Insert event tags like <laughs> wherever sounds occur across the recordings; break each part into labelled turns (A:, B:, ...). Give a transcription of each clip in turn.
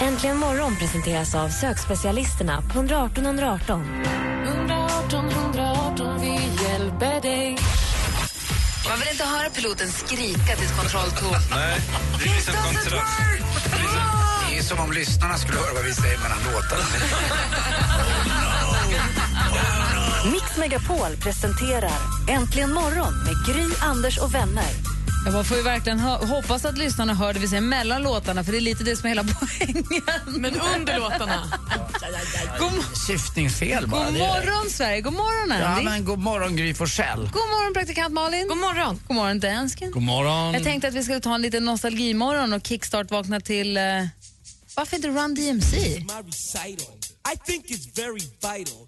A: Äntligen morgon presenteras av sökspecialisterna på 118 118.
B: 118 118, vi hjälper dig.
C: Man vill inte höra piloten skrika till kontrolltornet.
D: Nej, det är liksom kontrast.
E: Det är som om lyssnarna skulle höra vad vi säger mellan låtarna.
A: Mix Megapol presenterar Äntligen morgon med Gry, Anders och vänner.
F: Ja, man får ju verkligen hö- hoppas att lyssnarna hör det vi säger mellan låtarna för det är lite det som är hela <laughs> poängen.
B: Men under låtarna.
F: God, mo-
E: Syftningsfel bara.
F: god
E: Det är-
F: morgon Sverige, god morgon
E: Ja,
F: Andy.
E: men god morgon Gry Forssell.
F: God morgon praktikant Malin. God morgon. God morgon dansken.
E: God morgon.
F: Jag tänkte att vi skulle ta en liten nostalgimorgon och kickstart-vakna till eh, varför inte Run DMC?
G: my recital. I think it's very vital.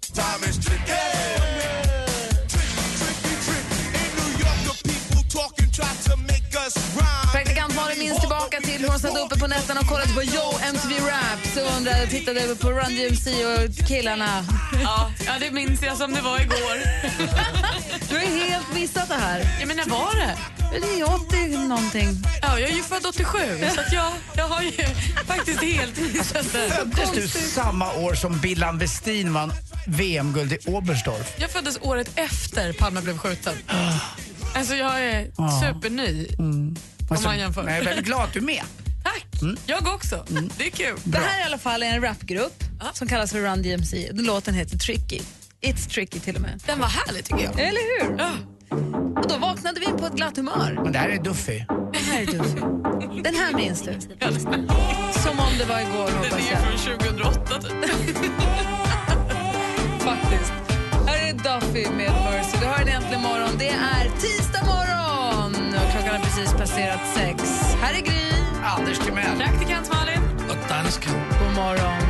F: Praktikant Malin minns tillbaka till hur hon satt uppe på nätterna och kollade på Yo! MTV Rap. Så undrade, tittade på Run DMC och killarna.
B: Ja, ja, det minns jag som det var igår.
F: Du har ju helt missat det här.
B: Ja, men när var det?
F: Men Det är 80 någonting.
B: Ja, jag är ju född 87, så att jag, jag har ju faktiskt helt missat det.
E: Föddes du samma år som Billan Westin vann VM-guld i Oberstdorf?
B: Jag föddes året efter Palme blev skjuten. Alltså, jag är superny om man jämför.
E: Men jag är väldigt glad att du är med.
B: <laughs> Tack! Jag också. Det är kul.
F: Det här i alla fall är en rapgrupp som kallas för Run DMC. Den Låten heter Tricky. It's tricky till och med.
B: Den var härlig, tycker jag.
F: Eller hur?
B: Ja.
F: Och då vaknade vi på ett glatt humör.
E: Men det här är Duffy.
F: Det här är du. Den här minns du. Som om det var igår
B: Den
F: hoppas
B: är ju
F: jag.
B: från 2008, <laughs> typ.
F: Faktiskt. Här är Duffy med Mercy. Du hör det äntligen morgon. Det är tisdag morgon och klockan har precis passerat sex. Här är Gry.
E: Anders Timell.
B: Praktikant Malin.
E: Och dansken.
F: God morgon.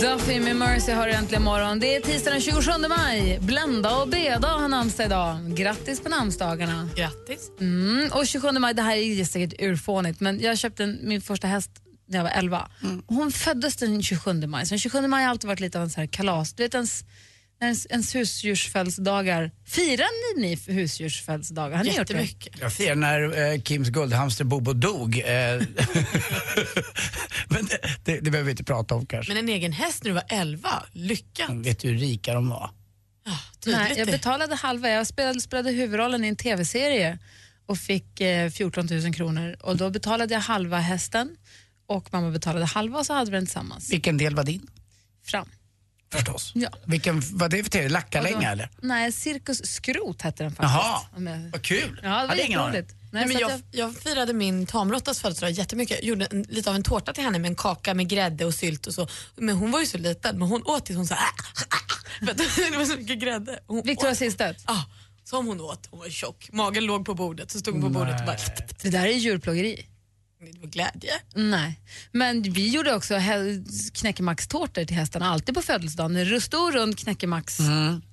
F: Duffy med Mercy har äntligen morgon. Det är tisdag den 27 maj. Blenda och Beda har namnsdag idag. Grattis på namnsdagarna.
B: Grattis.
F: Mm. Och 27 maj, det här är säkert urfånigt, men jag köpte en, min första häst när jag var 11.
B: Mm.
F: Och hon föddes den 27 maj, så den 27 maj har alltid varit lite av en så här kalas. Du vet ens, när ens, ens husdjursfödelsedagar. Firar ni, ni husdjursfödelsedagar? Har ni gjort det?
B: Jättemycket.
E: Jag ser när eh, Kims guldhamster Bobo dog. Eh, <laughs> men det, det, det behöver vi inte prata om kanske.
B: Men en egen häst när du var 11, lyckat.
E: Men vet du hur rika de var?
B: Ja,
F: Nej,
B: tydligt
F: jag
B: det.
F: betalade halva. Jag spelade, spelade huvudrollen i en tv-serie och fick eh, 14 000 kronor. Och då betalade jag halva hästen och mamma betalade halva och så hade vi den tillsammans.
E: Vilken del var din?
F: Fram.
E: Förstås.
F: Ja.
E: Vilken, vad det för tv? Lackarlänga eller?
F: Nej, Cirkus Skrot hette den faktiskt.
E: Jaha,
F: Om jag-
E: vad kul.
F: Ja, det var
E: Hade ingen aning.
F: jätteroligt. Nej,
B: Nej, men
F: så att
B: jag, jag firade min tamråttas födelsedag jättemycket. Jag gjorde en, lite av en tårta till henne med en kaka med grädde och sylt och så. Men hon var ju så liten, men hon åt tills hon sa <laughs> "Ah, ah, ah", för att <laughs> Det var så mycket grädde. Hon
F: Victoria
B: åt.
F: Silvstedt.
B: Ja, som hon åt. Hon var tjock. Magen låg på bordet, så stod hon på bordet och bara... <laughs>
F: Det där är djurplågeri.
B: Det var glädje.
F: Nej, men vi gjorde också hä- knäckemackstårtor till hästarna, alltid på födelsedagen. En ru- stor rund knäckemax,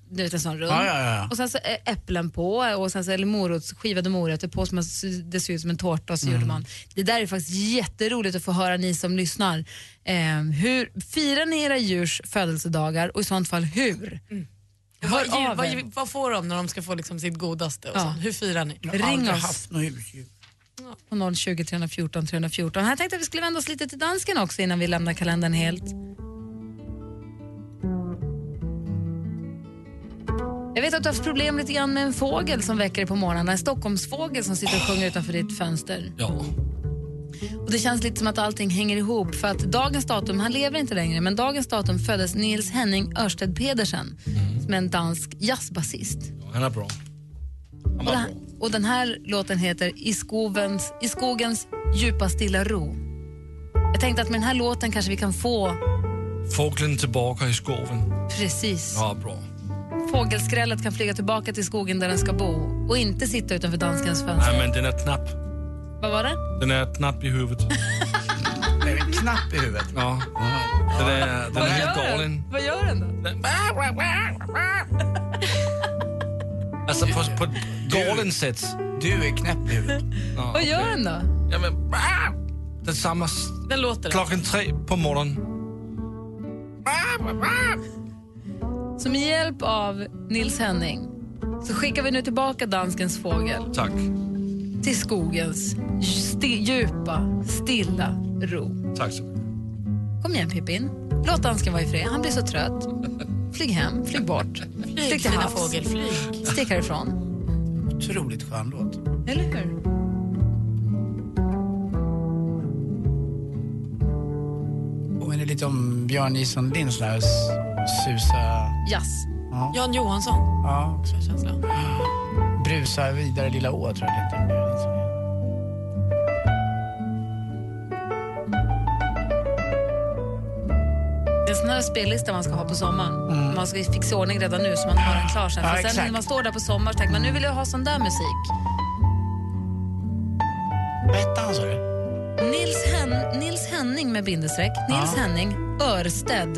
F: du vet en sån rund.
E: Mm. Ja, ja, ja.
F: Och sen så ä- äpplen på, och sen så, eller morots, skivade morötter på, som det ser ut som en tårta och så
E: Mm.
F: gjorde man. Det där är faktiskt jätteroligt att få höra ni som lyssnar. Eh, hur Firar ni era djurs födelsedagar och i sånt fall hur? Hör
B: Vad, ge-
F: av er.
B: vad, vad får de när de ska få liksom sitt godaste? Och
F: Ja.
B: sånt? Hur firar ni?
E: Jag har
F: Ring
E: aldrig
F: oss.
E: haft något husdjur.
F: på 020 314 314. Här tänkte jag att vi skulle vända oss lite till dansken också innan vi lämnar kalendern helt. Jag vet att du har haft problem lite grann med en fågel som väcker dig på morgonen. En Stockholmsfågel som sitter och sjunger utanför ditt fönster.
G: Ja.
F: Och det känns lite som att allting hänger ihop för att dagens datum, han lever inte längre, men dagens datum föddes Nils Henning Ørsted Pedersen som är en dansk jazzbasist.
G: Han är bra. Han
F: Och
G: var
F: den,
G: bra.
F: och den här låten heter I, skogens, I skogens djupa stilla ro. Jag tänkte att med den här låten kanske vi kan få
G: Fågeln tillbaka i skogen.
F: precis.
G: Ja, bra.
F: Fågelskrället kan flyga tillbaka till skogen där den ska bo och inte sitta utanför danskens fönster.
G: Nej, men den är knapp.
F: Vad var det?
G: Den är knapp i huvudet.
E: Det är en knapp i huvudet.
G: Ja. Den är, den är helt
F: gör den?
G: dålig. den.
F: Vad gör den då?
G: den alltså på, på ett galet sätt.
E: Du är knäpp i huvudet.
G: Ja,
F: Vad gör den då?
G: Ja, men, ah! den samma s-
B: Den låter.
G: klockan tre på morgonen.
F: Så med hjälp av Nils Henning så skickar vi nu tillbaka danskens fågel
G: Tack.
F: till skogens sti- djupa, stilla ro.
G: Tack så mycket.
F: Kom igen Pippin, låt dansken vara i fred. han blir så trött. Flyg hem, flyg bort, flyg
B: Flyg,
F: till
B: lilla
F: havs,
B: fågel, flyg.
F: stick härifrån.
E: Otroligt skön låt.
F: Eller hur?
E: Påminner lite om Björn Nilsson Linds där s- susa,
F: Jazz.
B: Jan Johansson.
E: ja,
B: Så känslan.
E: brusa vidare lilla å tror jag det heter. Björn Nilsson.
F: Det är en sån här spellista man ska ha på sommaren. Man ska fixa i ordning redan nu så man har den klar sen.
E: Mm. Ja,
F: För sen
E: exakt.
F: när man står där på sommaren så tänker man nu vill jag ha sån där musik.
E: Vad hette han sa du?
F: Nils, Hen- Nils Henning med bindestreck. Nils
E: Ja.
F: Henning Örsted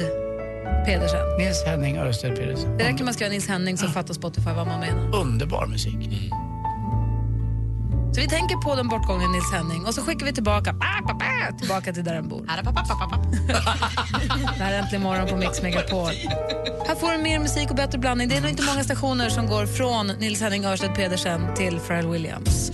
F: Pedersen.
E: Nils Henning Örsted Pedersen.
F: Det räcker med att skriva Nils Henning så fattar Spotify vad man menar.
E: Underbar
F: Mm.
E: musik.
F: Så vi tänker på den bortgången Nils Henning och så skickar vi tillbaka pa, pa, pa, tillbaka till där den bor. Det här är Äntligen morgon på Mix Megapol. Här får du mer musik och bättre blandning. Det är nog inte många stationer som går från Nils Henning Örsted Pedersen till Pharrell Williams.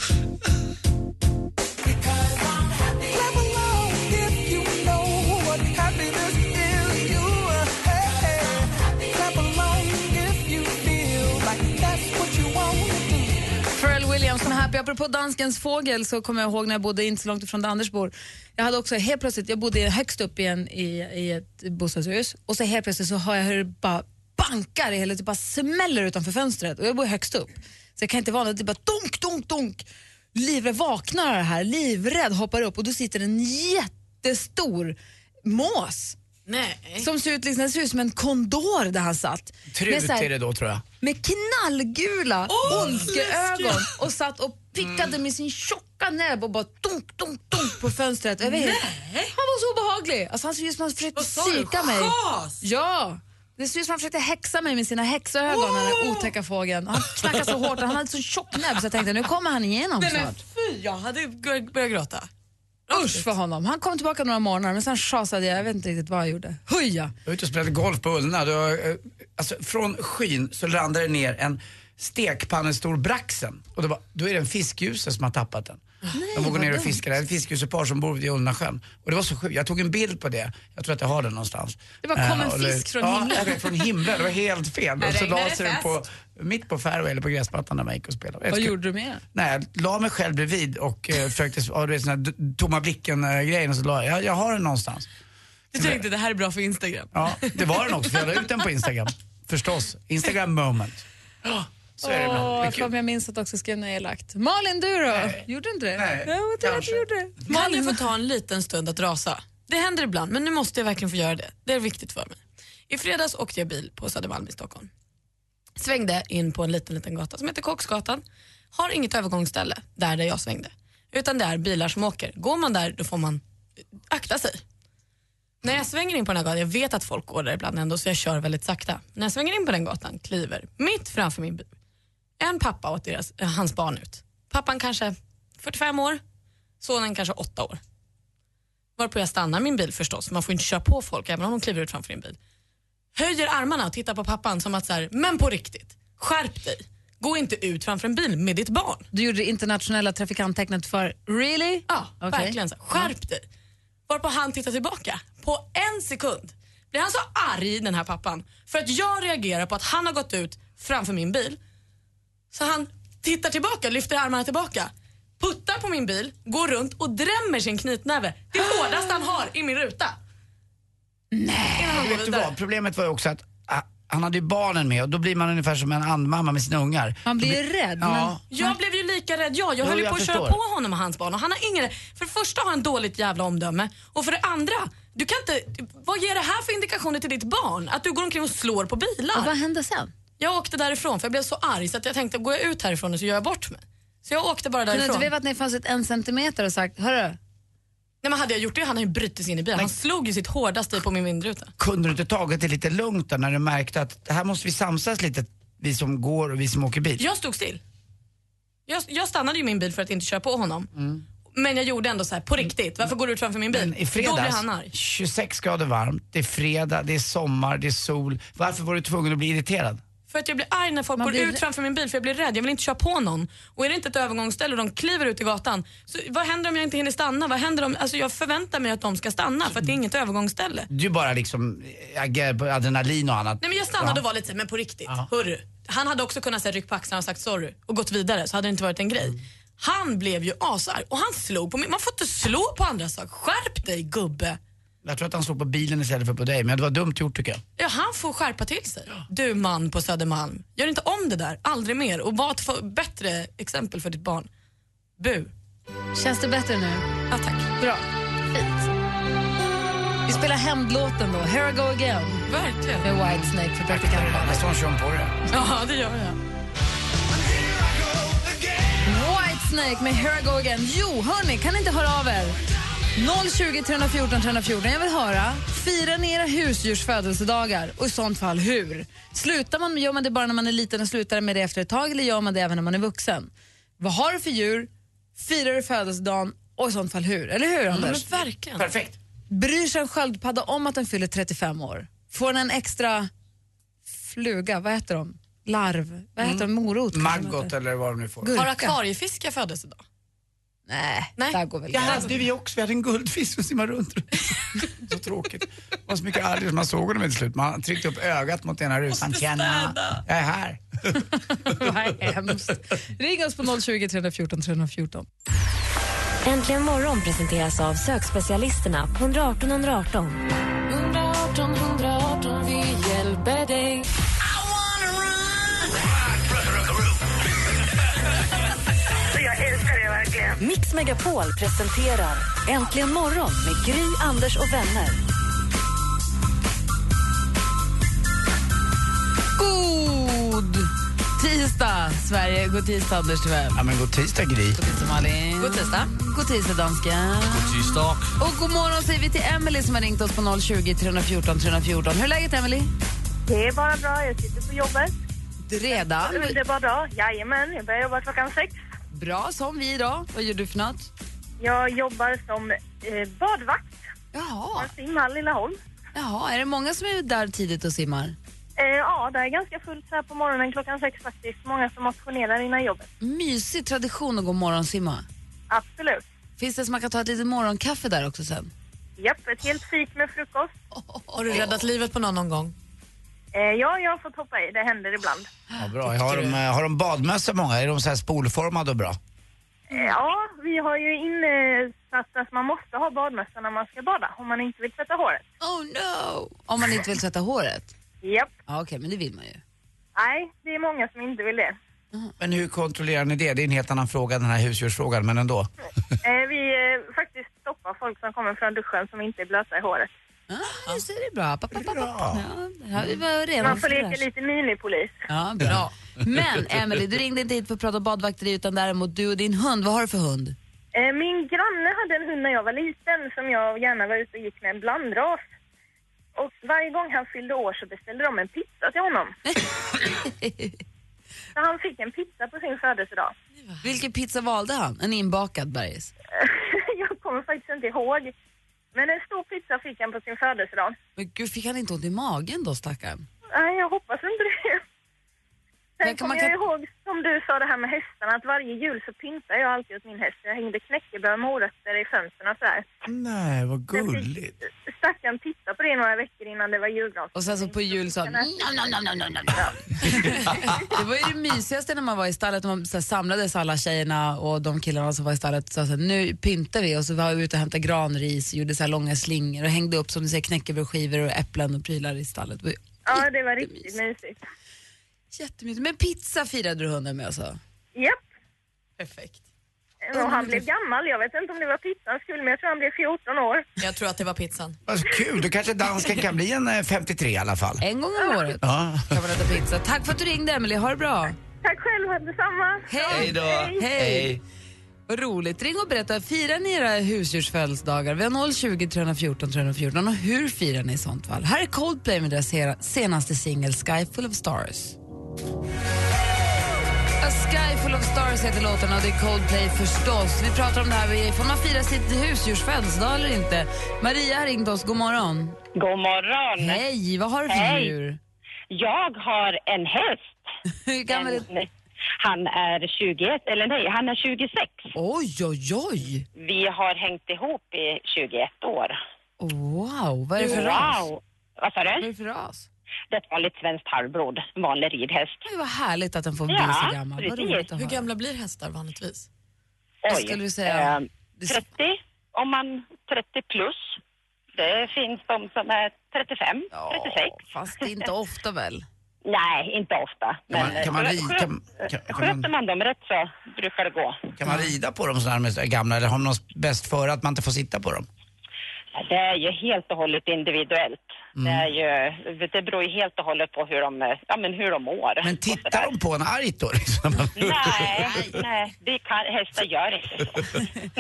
F: Pharrell Williams som är happy. Apropå danskens fågel så kommer jag ihåg när jag bodde inte så långt ifrån där Anders bor. Jag hade också helt plötsligt, jag bodde högst upp i, en, i, i ett bostadshus och så helt plötsligt så hör jag hur det bara bankar i hela, det bara smäller utanför fönstret och jag bor högst upp. Så jag kan inte vara det är bara dunk, dunk, dunk. Livrädd vaknar av det här, livrädd hoppar upp och då sitter en jättestor mås
B: Nej.
F: som ser ut, liksom, den ser ut som en kondor där han satt. Med
E: Trut
F: så här-
E: är det då tror jag.
F: med knallgula ondskeögon och satt och pickade
E: Mm.
F: med sin tjocka näbb och bara dunk, dunk, dunk på fönstret. Över hela- Han var så obehaglig. Alltså, han såg ut som han försökte psyka mig. Ja. Det ser ut som han försökte häxa mig med sina häxögon, den här otäcka fågeln. Han knackade så hårt och han hade så tjock näbb så jag tänkte nu kommer han igenom snart.
B: Fy, jag hade bör- börjat gråta.
F: Usch för honom. Han kom tillbaka några morgnader men sen schasade jag, jag vet inte riktigt vad jag gjorde. Huja!
E: Jag var ute och spelade golf på Ullna. Då, eh, alltså, från skyn så landade det ner en stekpannestor braxen. Och det var, då är det en fiskgjuse som har tappat den. de får gå
F: vad
E: ner och
F: dumt.
E: fiska. Det är ett fiskgjusepar som bor vid Ullnasjön. Och det var så sjukt. Jag tog en bild på det. Jag tror att jag har den någonstans.
F: Det bara kom en
E: Eh, och la
F: fisk
E: ut-
F: från
E: ja,
F: himlen.
E: jag vet, från himlen. Det var helt fel. Och så la
B: regnade
E: sig den på, mitt på fairway eller på gräsmattan när man gick och spelade.
F: Vad gjorde du med
E: Nej, jag la mig själv bredvid och eh, försökte, ja, du vet sån här d- tomma blicken-grejen och så la jag, jag, jag har den någonstans.
B: Du tänkte det här är bra för Instagram.
E: Ja, det var den också för jag la ut den på Instagram. Förstås. Instagram moment. Ja, Så är det ibland. Det är
F: Åh, fan,
E: kul.
F: jag minns att också skrev något elakt. Malin, du då? Gjorde du inte det?
E: Nej,
F: jag vet inte att
E: kanske.
F: du gjorde det.
B: Kan jag få ta en liten stund att rasa? Det händer ibland, men nu måste jag verkligen få göra det. Det är viktigt för mig. I fredags åkte jag bil på Södermalm i Stockholm. Svängde in på en liten, liten gata som heter Koksgatan. Har inget övergångsställe där, där jag svängde. Utan det är bilar som åker. Går man där, då får man akta sig. När jag svänger in på den här gatan, jag vet att folk går där ibland ändå så jag kör väldigt sakta. När jag svänger in på den gatan, kliver mitt framför min bil en pappa och deras, eh, hans barn ut. Pappan kanske 45 år, sonen kanske 8 år. Varpå jag stannar min bil förstås, för man får inte köra på folk även om de kliver ut framför din bil. Höjer armarna och tittar på pappan som att så här, men på riktigt, skärp dig. Gå inte ut framför en bil med ditt barn.
F: Du gjorde det internationella trafikanttecknet för really?
B: Ja,
F: Okej.
B: verkligen. Så. här, Skärp dig. Varpå han tittar tillbaka. På en sekund blir han så arg, den här pappan, för att jag reagerar på att han har gått ut framför min bil. Så han tittar tillbaka, lyfter armarna tillbaka, puttar på min bil, går runt och drämmer sin knytnäve. Det hårdaste han har i min ruta. Nej. Innan han går
E: Vet du vad?
B: vidare.
E: Problemet var ju också att ah, han hade ju barnen med och då blir man ungefär som en andmamma med sina ungar.
F: Man blir
E: Då
F: ju rädd.
E: Ja,
B: Jag blev ju lika rädd jag. Jag
E: Jo,
B: höll ju
E: jag
B: på att köra
E: förstår.
B: på honom och hans barn. Och han har ingen, för det första har han dåligt jävla omdöme och för det andra, du kan inte, vad ger det här för indikationer till ditt barn? Att du går omkring och slår på
F: Och vad
B: bilar.
F: hände sen?
B: Jag åkte därifrån för jag blev så arg så att jag tänkte går jag ut härifrån så gör jag bort mig. Så jag åkte bara
E: alltså,
F: Kunde du
B: därifrån.
F: inte vevat ner fönstret en centimeter och sagt, hörru,
B: Nej, men hade jag gjort det hade han ju brutit sig in i bilen. Han slog ju sitt hårdaste på min vindruta.
E: Kunde du inte tagit det lite lugnt då när du märkte att det här måste vi samsas lite, vi som går och vi som åker bil?
B: Jag stod still. Jag, jag stannade ju min bil för att inte köra på honom. Men jag gjorde ändå så här på riktigt. Varför går du ut framför min bil?
E: Mm. Men I
B: Då blev
E: fredags,
B: han arg.
E: 26 grader varmt, det är fredag, det är sommar, det är sol. Varför var du tvungen att bli irriterad?
B: För att jag blir arg när folk
F: Man
B: går
F: blir-
B: ut framför min bil för jag blir rädd. Jag vill inte köra på någon. Och är det inte ett övergångsställe och de kliver ut i gatan, så vad händer om jag inte hinner stanna? Vad händer om, alltså jag förväntar mig att de ska stanna för att det är inget övergångsställe.
E: Du bara liksom eh, agerar på adrenalin och annat.
B: Nej men jag stannade och var lite så här, men på riktigt, hörru. Han hade också kunnat säga ryck på axlarna och sagt sorry och gått vidare så hade det inte varit en grej. Han blev ju asarg och han slog på mig. Man får inte slå på andra saker. Skärp dig gubbe.
E: Jag tror att han slog på bilen istället för på dig, men det var dumt gjort tycker jag.
B: Ja, han får skärpa till sig. Du man på Södermalm, gör inte om det där, aldrig mer och var ett för- bättre exempel för ditt barn. Bu.
F: Känns det bättre nu?
B: Ja, tack.
F: Bra. Fint. Vi spelar hämndlåten då. Here I go again
B: Verkligen.
F: med Whitesnake för praktikanten.
E: Nästa gång kör hon på det.
B: Ja, det gör jag.
F: Whitesnake med Here I Go Again. Jo, hörni, kan ni inte höra av er? 020 314 314. Jag vill höra. Firar ni era husdjurs födelsedagar? Och i sånt fall hur? Slutar man, gör man det bara när man är liten och slutar med det efter ett tag eller gör man det även när man är vuxen? Vad har du för djur? Firar du födelsedagen? Och i sånt fall hur? Eller hur,
B: Men
F: Anders?
B: verkligen.
E: Perfekt.
F: Bryr sig en sköldpadda om att den fyller 35 år? Får den en extra fluga? Vad heter de? Larv? Vad heter de? Morot? kanske de
E: Maggot
F: heter.
E: eller vad de nu får.
F: Gurka?
B: Mm. Har akvariefiskar födelsedag?
F: Nej,
B: Nej.
F: där går väl
E: Det
F: gränsen.
E: hade vi också, vi hade en guldfisk som simmade runt. <laughs> Så tråkigt. Det var så mycket arg man såg honom till slut. Man tryckte upp ögat mot ena rutan. Tjena, jag är här.
F: Vad hemskt. Ring oss på 020 314 314.
A: Äntligen morgon presenteras av sökspecialisterna på 118 118. Mix Megapol presenterar Äntligen morgon med Gry, Anders och vänner.
F: God tisdag, Sverige. God tisdag, Anders Tvell.
E: Ja men god tisdag Gry.
F: God tisdag, Malin. God tisdag. God tisdag, dansken.
G: Tisdag.
F: Och god morgon säger vi till Emily som har ringt oss på 020 314 314. Hur är läget, Emily?
H: Det är bara bra. Jag sitter på jobbet.
F: Redan.
H: Underbar dag. Jajamän, jag börjar jobba klockan sex.
F: Bra som vi idag. Vad gör du för något?
H: Jag jobbar som eh, badvakt på
F: Jaha,
H: en simhall i Laholm.
F: jaha, är det många som är där tidigt och simmar?
H: Eh, ja, det är ganska fullt så här på morgonen klockan sex faktiskt. Många som motionerar innan jobbet.
F: Mysig tradition att gå och morgonsimma.
H: Absolut.
F: Finns det så man kan ta ett litet morgonkaffe där också sen?
H: Japp, ett helt fik med frukost.
B: <laughs> Har du räddat livet på någon någon gång?
H: Eh, ja, jag har fått hoppa i. Det händer ibland.
E: Ja, bra. Har de, eh, har de badmössa många? Är de så här spolformade och bra?
H: Eh,
B: Mm.
H: ja, vi har ju insatt att man måste ha badmössa när man ska bada om man inte vill tvätta håret.
F: Oh no! Om man inte vill tvätta håret?
H: Japp.
F: Ja, Okej, men det vill man ju.
H: Nej, det är många som inte vill
B: <laughs>
H: det.
E: Men hur kontrollerar ni det? Det är en helt annan fråga, den här husdjursfrågan, men ändå.
H: Eh, vi eh, faktiskt stoppar folk som kommer från duschen som inte är blöta i håret.
F: Ah, nu ser det bra. Pa, pa, pa,
E: Bra.
F: pa. Ja, det här vi var redan
H: Man får
F: fräsch.
H: leka lite minipolis.
F: Ja, bra. Men Emily, du ringde inte hit för att prata badvakteri utan däremot du och din hund. Vad har du för hund?
H: Eh, Min granne hade en hund när jag var liten som jag gärna var ute och gick med en blandras. Och varje gång han fyllde år så beställde de en pizza till honom.
F: <laughs>
H: så han fick en pizza på sin födelsedag. <laughs>
F: Vilken pizza valde han? En inbakad bergis?
H: jag kommer faktiskt inte ihåg. Men en stor pizza fick han på sin födelsedag.
F: Men gud, fick han inte ont i magen då stackarn?
H: Nej, jag hoppas inte det.
F: Men
H: Sen
F: kan-
H: kommer
F: man
H: jag
F: kan-
H: ihåg, som du sa det här med hästarna, att varje jul så pyntar jag alltid åt min häst. Jag hängde knäckebröd och morötter i fönstren och sådär.
E: Nej, vad
H: Sen fick
E: gulligt.
H: Stackaren tittade på det några veckor innan det var julgran. Mm,
F: Och sen så på jul sa han "Nom, nom, nom, nom, nom, nom." Det var ju det mysigaste när man var i stallet, när man så här, samlades alla tjejerna och de killarna som var i stallet sa så här, nu pyntar vi och så var vi ute och hämtade granris och gjorde så här långa slingor och hängde upp som du säger knäckebrödsskivor och äpplen och prylar i stallet. Det var ju
H: Ja, det var riktigt mysigt.
F: Jättemysigt. Men pizza firade du hunden med alltså?
H: Japp.
B: Perfekt.
H: Och han blev gammal. Jag vet inte om det var pizzans skull, men jag tror han blev 14 år.
B: Jag tror att det var pizzan.
E: Vad kul, då kanske dansken kan bli en eh, 53 i alla fall.
F: En gång om året
E: Ja.
F: kan man äta pizza. Tack för att du ringde Emelie, ha det bra.
H: Tack själv, detsamma.
F: Hej.
G: Hej då.
F: Hej. Vad roligt. Ring och berätta, firar ni era husdjursfödelsedagar? Vi har 020 314 314 och hur firar ni i sånt fall? Här är Coldplay med deras sera- senaste singel Sky Full of Stars. A Sky Full of Stars heter låten och det är Coldplay förstås. Vi pratar om det här, med- får man fira sitt husdjurs födelsedag eller inte? Maria har ringt oss, god morgon.
A: God morgon.
F: Hej, vad har du för
A: Hej.
F: djur?
A: Jag har en häst.
F: Hur gammal är
A: Han är 21, eller nej, han är 26.
F: Oj, oj, oj!
A: Vi har hängt ihop i 21 år.
F: Wow, vad är det för
A: wow.
F: ras? Mm.
A: Vad sa du? Vad
F: är det för ras?
A: Det är ett vanligt svenskt halvblod, en vanlig ridhäst.
F: Oj, vad härligt att den får bli
A: Ja,
F: så gammal. Vad
A: precis.
F: roligt att
A: Hur
F: höra.
I: gamla blir hästar vanligtvis?
F: Vad skulle du säga?
A: eh, 30, om man 30 plus. Det finns de som är 35, 36.
F: Fast inte ofta
A: <laughs>
F: väl?
A: Nej, inte ofta.
E: man- kan man
A: eh,
E: ri-
A: sköt-
E: kan- kan
A: Sköter man dem rätt så brukar det gå.
E: Kan man rida på dem sådär med gamla eller har man något bäst före att man inte får sitta på dem?
A: Det är ju helt och hållet individuellt. Det, är ju, det beror ju helt och hållet på hur de, eh, ja, men hur de mår.
E: Men tittar de på en argt då liksom? <laughs>
F: <laughs>
A: Nej, nej det kan, hästar gör inte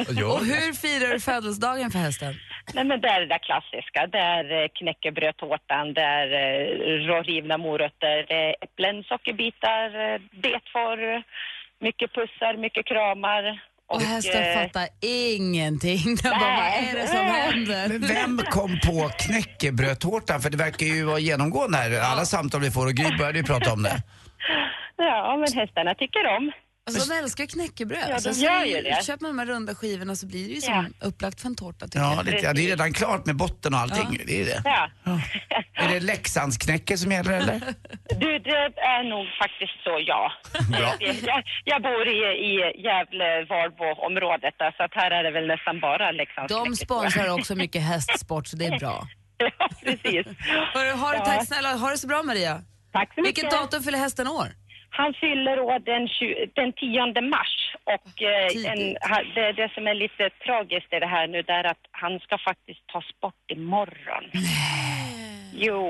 A: så.
F: Och hur firar du födelsedagen för hästen?
A: Nej, men det är det där klassiska. Det är eh, knäckebrödtårtan, det är eh, rårivna morötter, det är äpplen, sockerbitar, eh, betforr, mycket pussar, mycket kramar.
F: Och hästen
A: eh,
F: fattar ingenting. <laughs> Den
A: nej.
F: bara, vad är det
A: <laughs>
F: som händer?
E: Men vem kom på knäckebrödtårtan? För det verkar ju vara genomgående här. Alla samtal vi får och Gry började ju prata om det.
A: Ja, men hästarna tycker om.
F: Alltså de älskar knäckebröd.
A: Ja, de
F: Alltså,
A: gör ju det.
F: Köper man de här runda skivorna så blir det ju som upplagt för en tårta. typ. tycker
E: Ja,
F: jag.
E: lite, ja, det är ju redan klart med botten och allting. Det är ju det.
A: Ja.
E: Är det Leksandsknäcke som gäller eller?
A: Du, det är nog faktiskt så, ja.
E: Bra.
A: <laughs> Jag, jag bor i, i Gävle-Valbo-området, där, så att här är det väl nästan bara liksom Leksands <laughs>
F: De sponsrar också mycket hästsport så det är bra. Hörru, ha det, tack snälla. Ha det så bra Maria.
A: Tack så mycket.
F: Vilket datum fyller hästen år?
A: Han fyller år den, tju- den 10 mars. Och eh, en, ha- det, det som är lite tragiskt i det här nu det är att han ska faktiskt tas bort imorgon. Jo,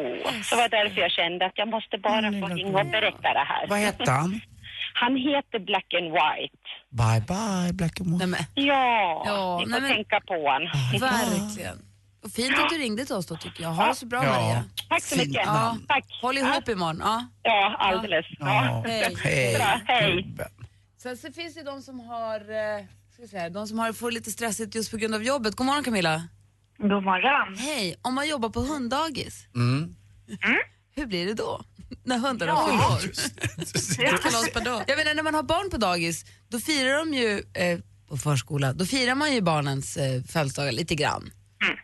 A: så var därför jag kände att jag måste bara
F: Mm,
A: få ringa och berätta det här.
E: Vad hette han?
A: Han heter Black and White.
E: Bye bye Black and White.
A: Ja, ni får
F: nej men-
A: tänka på honom.
F: Verkligen. Och fint att du ringde till oss då tycker jag. Ha det så bra
E: Ja.
F: Maria.
A: Tack så
F: Fint
A: mycket.
F: namn.
A: Tack.
F: Håll ihop imorgon. Ja,
A: ja alldeles.
E: Ja.
F: Hej.
E: Hej.
A: Bra, hej.
F: Sen så finns det ju de som har, eh, ska vi säga, de som har, får lite stressigt just på grund av jobbet. God morgon Camilla.
B: God morgon.
F: Hej. Om man jobbar på hunddagis, hur blir det då? <laughs> När hundarna
B: Ja.
F: fyller år?
B: Ja.
F: Jag menar när man har barn på dagis, då firar de ju, eh, på förskola, då firar man ju barnens eh, födelsedagar lite grann.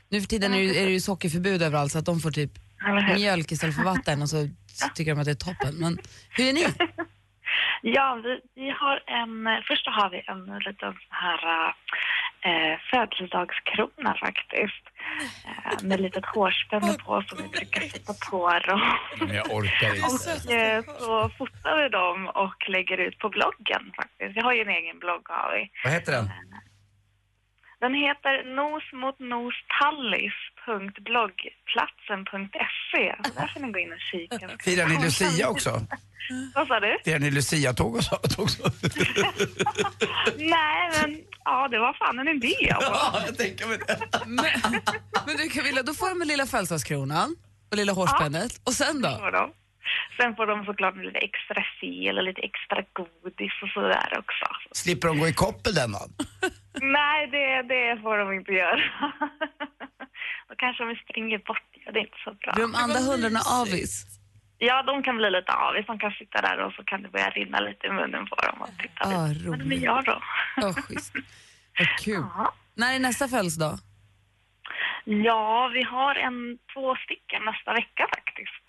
F: Nu för tiden är, det ju- är det ju sockerförbud överallt så att de får typ
B: Eller hur?
F: mjölk istället för vatten och så tycker de att det är toppen. Men hur är ni?
B: Ja, vi, vi har en... eh, Först så har vi en liten sån här eh, födelsedagskrona faktiskt. Eh, med litet hårspänne på som vi brukar sätta på dem.
E: Men jag orkar
B: Och eh, så fotar vi dem och lägger ut på bloggen faktiskt. Vi har ju en egen blogg har vi.
E: Vad heter den?
B: Den heter nosmotnostallis.bloggplatsen.se. Så där får ni gå in och kika.
E: Firar ni Lucia också?
B: Vad sa du?
E: Firar ni Lucia-tåg <laughs> och sånt också?
B: Nej, men ja, det var fan en idé.
E: Ja, jag tänker mig det.
F: Men, men du Camilla, då får de med lilla födelsedagskronan och lilla hårspännet. Och sen då?
B: Får de. Sen får de såklart lite extra fel och lite extra godis och sådär
F: <laughs>
B: också.
E: Slipper de gå i koppel den dagen?
B: Nej, det, det får de inte göra. <laughs> Då kanske de springer bort. Ja, det är inte så bra.
F: Blir de andra hundarna avis?
B: Ja, de kan bli lite avis. De kan sitta där och så kan det börja rinna lite i munnen på dem. Och titta
F: Ah,
B: lite. Men det
F: roligt.
B: är jag då. <laughs>
F: Ja, schysst. Vad kul. När är nästa födelsedag?
B: Ja, vi har en, två stycken nästa vecka faktiskt.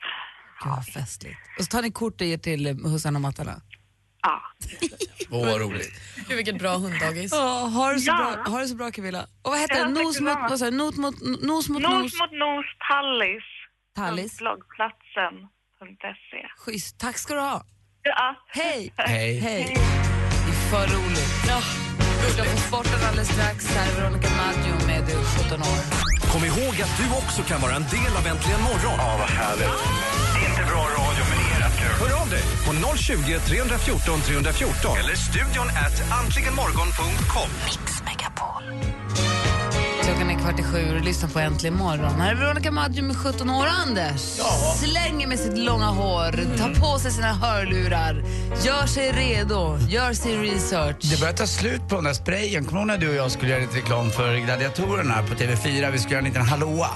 F: Gud, vad festligt. Och så tar ni kort och ger till eh, hussarna och mattarna?
B: Ja.
E: Åh, vad roligt.
I: Gud, vilket bra hunddagis.
F: Ja, ha, det så
I: Ja.
F: bra, ha det så bra Camilla. Och vad heter
B: Ja,
F: det?
B: tack
F: Nos mot,
B: detsamma.
F: vad sa du? Not mot, n- nos mot nos?
B: Nos mot nos, tallis.
F: Tallis.
B: Bloggplatsen.se.
F: Schysst. Tack ska du ha.
B: Ja.
F: Hej.
B: Hej.
F: Hej. Det är för roligt. Ja. Jag får sporten alldeles strax. Här är Veronica Maggio med Du är 17 år.
J: Kom ihåg att du också kan vara en del av Äntligen morgon. Ja, vad härligt.
K: Det är inte bra radio, men det är rätt kul.
J: Hör av dig på på 020 314 314 eller studion at antligenmorgon.com.
L: Klockan är kvart i sju och lyssnar på Äntligen morgon. Här är Veronica Maggio med 17 år och Anders slänger med sitt långa hår,
E: Mm.
L: tar på sig sina hörlurar, gör sig redo, gör sin research.
E: Det börjar ta slut på den där sprayen. Kommer du ihåg när du och jag skulle göra lite reklam för gladiatorerna på TV4? Vi skulle göra en liten hallåa.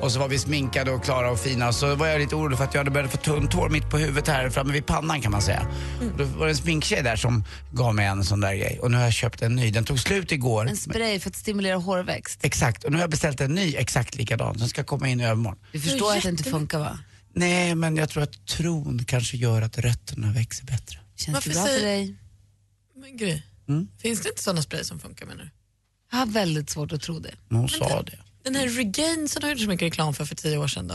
E: Och så var vi sminkade och klara och fina. Så var jag lite orolig för att jag hade börjat få tunt hår mitt på huvudet här framme vid pannan kan man säga. Och Då var det en sminktjej där som gav mig en sån där grej. Och nu har jag köpt en ny. Den tog slut igår.
L: En spray för att stimulera hårväxt.
E: Exakt. Och nu har jag beställt en ny exakt likadan som ska komma in i övermorgon.
L: Du förstår att det inte funkar va?
E: Nej, men jag tror att tron kanske gör att rötterna växer bättre.
L: Känns
B: Varför
L: det bra
B: säger-
L: för dig?
B: Men Gry,
E: Mm.
B: finns det inte såna spray som funkar menar du?
L: Jag har väldigt svårt att tro det.
E: Hon sa det.
B: Den här Regain som du gjorde så mycket reklam för för tio år sedan då?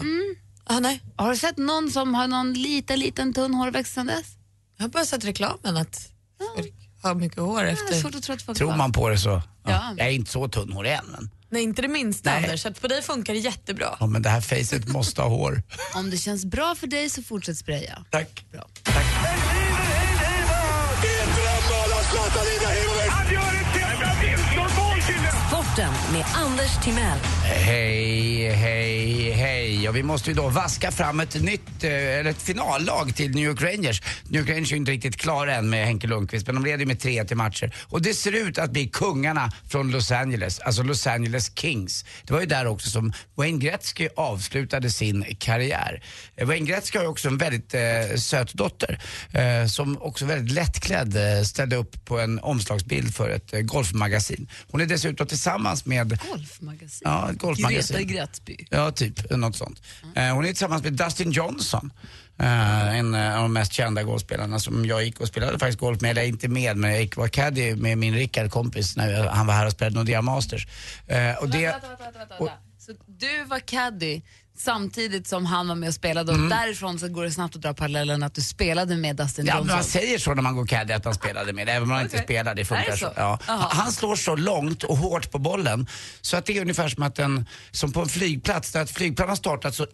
B: Ah, nej.
L: Har du sett någon som har någon liten, liten tunn hårväxt sedan dess?
B: Jag har bara sett reklamen att folk har mycket hår efter.
L: svårt att tro att folk
E: Tror man på det så. Ja.
B: Ja.
E: Jag är inte så tunnhårig än. Men,
B: Nej, inte det minsta Anders. Så att på dig funkar det jättebra.
E: ja, men det här facet måste ha hår. <laughs>
L: Om det känns bra för dig så fortsätt spraya.
E: Tack.
A: Sporten med Anders Timell.
E: Hej, hej, hej. Och vi måste ju då vaska fram ett nytt, eh, eller ett finallag till New York Rangers. New York Rangers är ju inte riktigt klara än med Henke Lundqvist, men de leder ju med 3-1 i matcher. Och det ser ut att bli kungarna från Los Angeles, alltså Los Angeles Kings. Det var ju där också som Wayne Gretzky avslutade sin karriär. Eh, Wayne Gretzky har ju också en väldigt eh, söt dotter eh, som också är väldigt lättklädd eh, ställde upp på en omslagsbild för ett eh, golfmagasin. Hon är dessutom tillsammans med
L: Golfmagasin.
E: Ja, ett golfmagasin.
L: Greta Gratzby.
E: Ja, typ något sånt. Eh, Hon är tillsammans med Dustin Johnson. eh, en eh, av de mest kända golfspelarna som jag gick och spelade faktiskt golf med, eller inte med, men jag gick och var caddy med min Rickard kompis när jag, han var här och spelade Nordea Masters. Eh, och det,
L: Vänta, vänta, vänta, vänta, vänta. Så du var caddy samtidigt som han var med och spelade och därifrån så går det snabbt att dra parallellen att du spelade med Dustin
E: ja, men
L: Johnson.
E: man säger så när man går caddy att man spelade med, även om man inte spelar, det
L: Är
E: funkar
L: det
E: så.
L: så?
E: Ja.
L: Jaha.
E: Han slår så långt och hårt på bollen så att det är ungefär som att en, som på en flygplats, där ett flygplan har startat så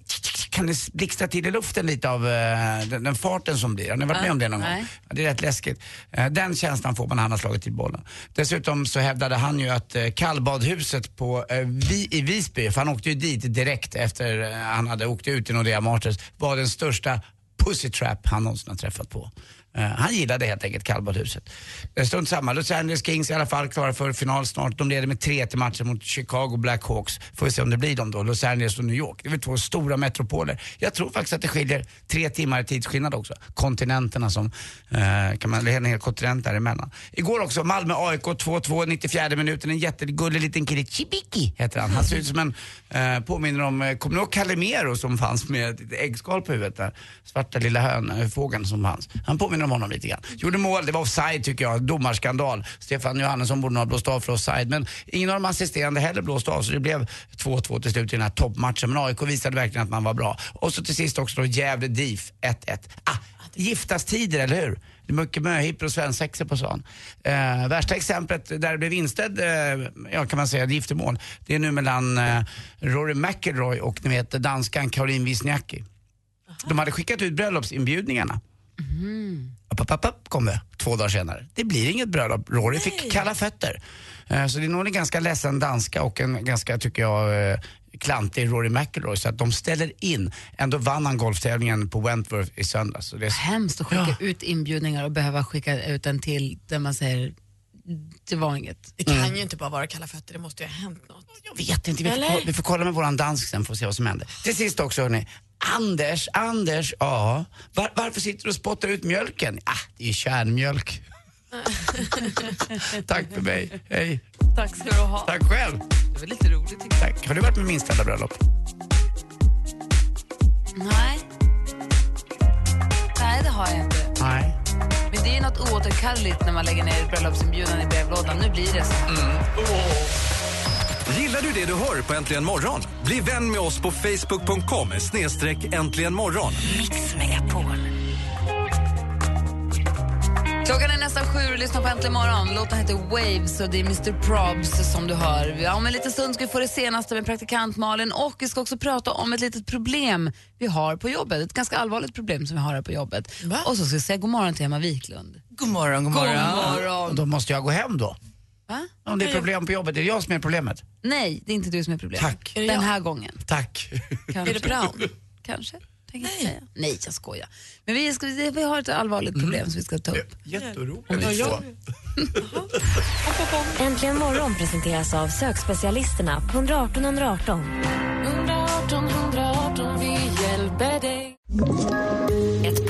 E: kan det blixtra till i luften lite av eh, den, den farten som blir. Har ni varit
M: Ja.
E: med om det någon gång?
M: Nej.
E: Ja, Det är rätt läskigt. Eh, Den känslan får man när han har slagit till bollen. Dessutom så hävdade han ju att eh, kallbadhuset på, eh, Vi- i Visby, för han åkte ju dit direkt efter eh, han hade åkt ut i Nordea Martins, var den största pussy trap han någonsin har träffat på. Eh, Han gillade helt enkelt kallbadhuset. Eh, Strunt samma, Los Angeles Kings i alla fall klara för final snart. De leder med 3 till matchen mot Chicago Blackhawks. Får vi se om det blir dem då, Los Angeles och New York. Det är väl två stora metropoler. Jag tror faktiskt att det skiljer tre timmar i tidsskillnad också. Kontinenterna som, eh, kan man, eller en hel kontinent däremellan. Igår också, Malmö-AIK 2-2, 94 minuten. En jättegullig liten kille, Chibiki heter han. Han ser ut som en, eh, påminner om, eh, kommer ni ihåg Calimero som fanns med ett litet äggskal på huvudet där? Svarta lilla hönfågeln som fanns. Han påminner om honom lite grann. Gjorde mål, det var offside tycker jag, domarskandal. Stefan Johannesson borde nog ha blåst av för offside, men ingen av de assisterande heller blåste av så det blev 2-2 till slut i den här toppmatchen. Men AIK visade verkligen att man var bra. Och så till sist också då Gävle DIF 1-1. Ah, giftastider, eller hur? Det är mycket möhippor och svensexor på stan. Eh, värsta exemplet där det blev inställd, eh, ja kan man säga, ett giftermål, det är nu mellan eh, Rory McIlroy och ni vet danskan Caroline Wozniacki. De hade skickat ut bröllopsinbjudningarna. App, app, app, app, kom det två dagar senare. Det blir inget bröllop. Rory fick kalla fötter. Eh, Så det är nog en ganska ledsen danska och en ganska, tycker jag, eh, klantig Rory McIlroy. Så att de ställer in. Ändå vann han golftävlingen på Wentworth i söndags. Så det är
L: Hemskt att skicka ut inbjudningar och behöva skicka ut en till där man säger det var inget.
B: Det kan ju inte bara vara kalla fötter, det måste ju ha hänt något.
E: Jag vet inte, vi får,
B: Eller?
E: ko- vi får kolla med våran dansk sen får vi se vad som händer. Till sist också hörni, Anders, Anders, ja. Var, varför sitter du och spottar ut mjölken? Ah, det är ju kärnmjölk. Tack för mig, hej.
L: Tack ska du ha.
E: Tack själv.
L: Det var lite roligt tycker
E: Tack. Har du varit med min ställda bröllop?
L: Nej. Nej, det har jag inte.
E: Nej.
L: Men det är ju något oåterkalleligt när man lägger ner bröllopsinbjudan i brevlådan. Nu blir det så.
J: Gillar du det du hör på Äntligen morgon? Bli vän med oss på facebook.com äntligen morgon.
A: Mix Megapol.
F: Klockan är nästan sju och lyssnar på Äntligen morgon. Låten heter Waves och det är Mr Probs som du hör. Ja, Om en liten stund ska vi få det senaste med praktikant Malin och vi ska också prata om ett litet problem vi har på jobbet. Ett ganska allvarligt problem som vi har här på jobbet. Och så ska vi säga god morgon till Emma Wiklund.
N: God morgon, god morgon.
E: Då måste jag gå hem då.
F: Va?
E: Om det är problem på jobbet, är det jag som är problemet?
F: Nej, det är inte du som är problemet.
E: Tack. Är det
F: Den
E: jag?
F: här gången.
E: Tack. <laughs>
F: Kanske. Kanske. Tänker jag säga. Nej, jag skojar. Men vi, ska, vi har ett allvarligt
E: Mm.
F: problem som vi ska ta upp.
E: Jätteroligt.
F: Om vi får.
A: Äntligen morgon presenteras av sökspecialisterna på 118 118.
O: 118 118, vi hjälper dig.
A: Ett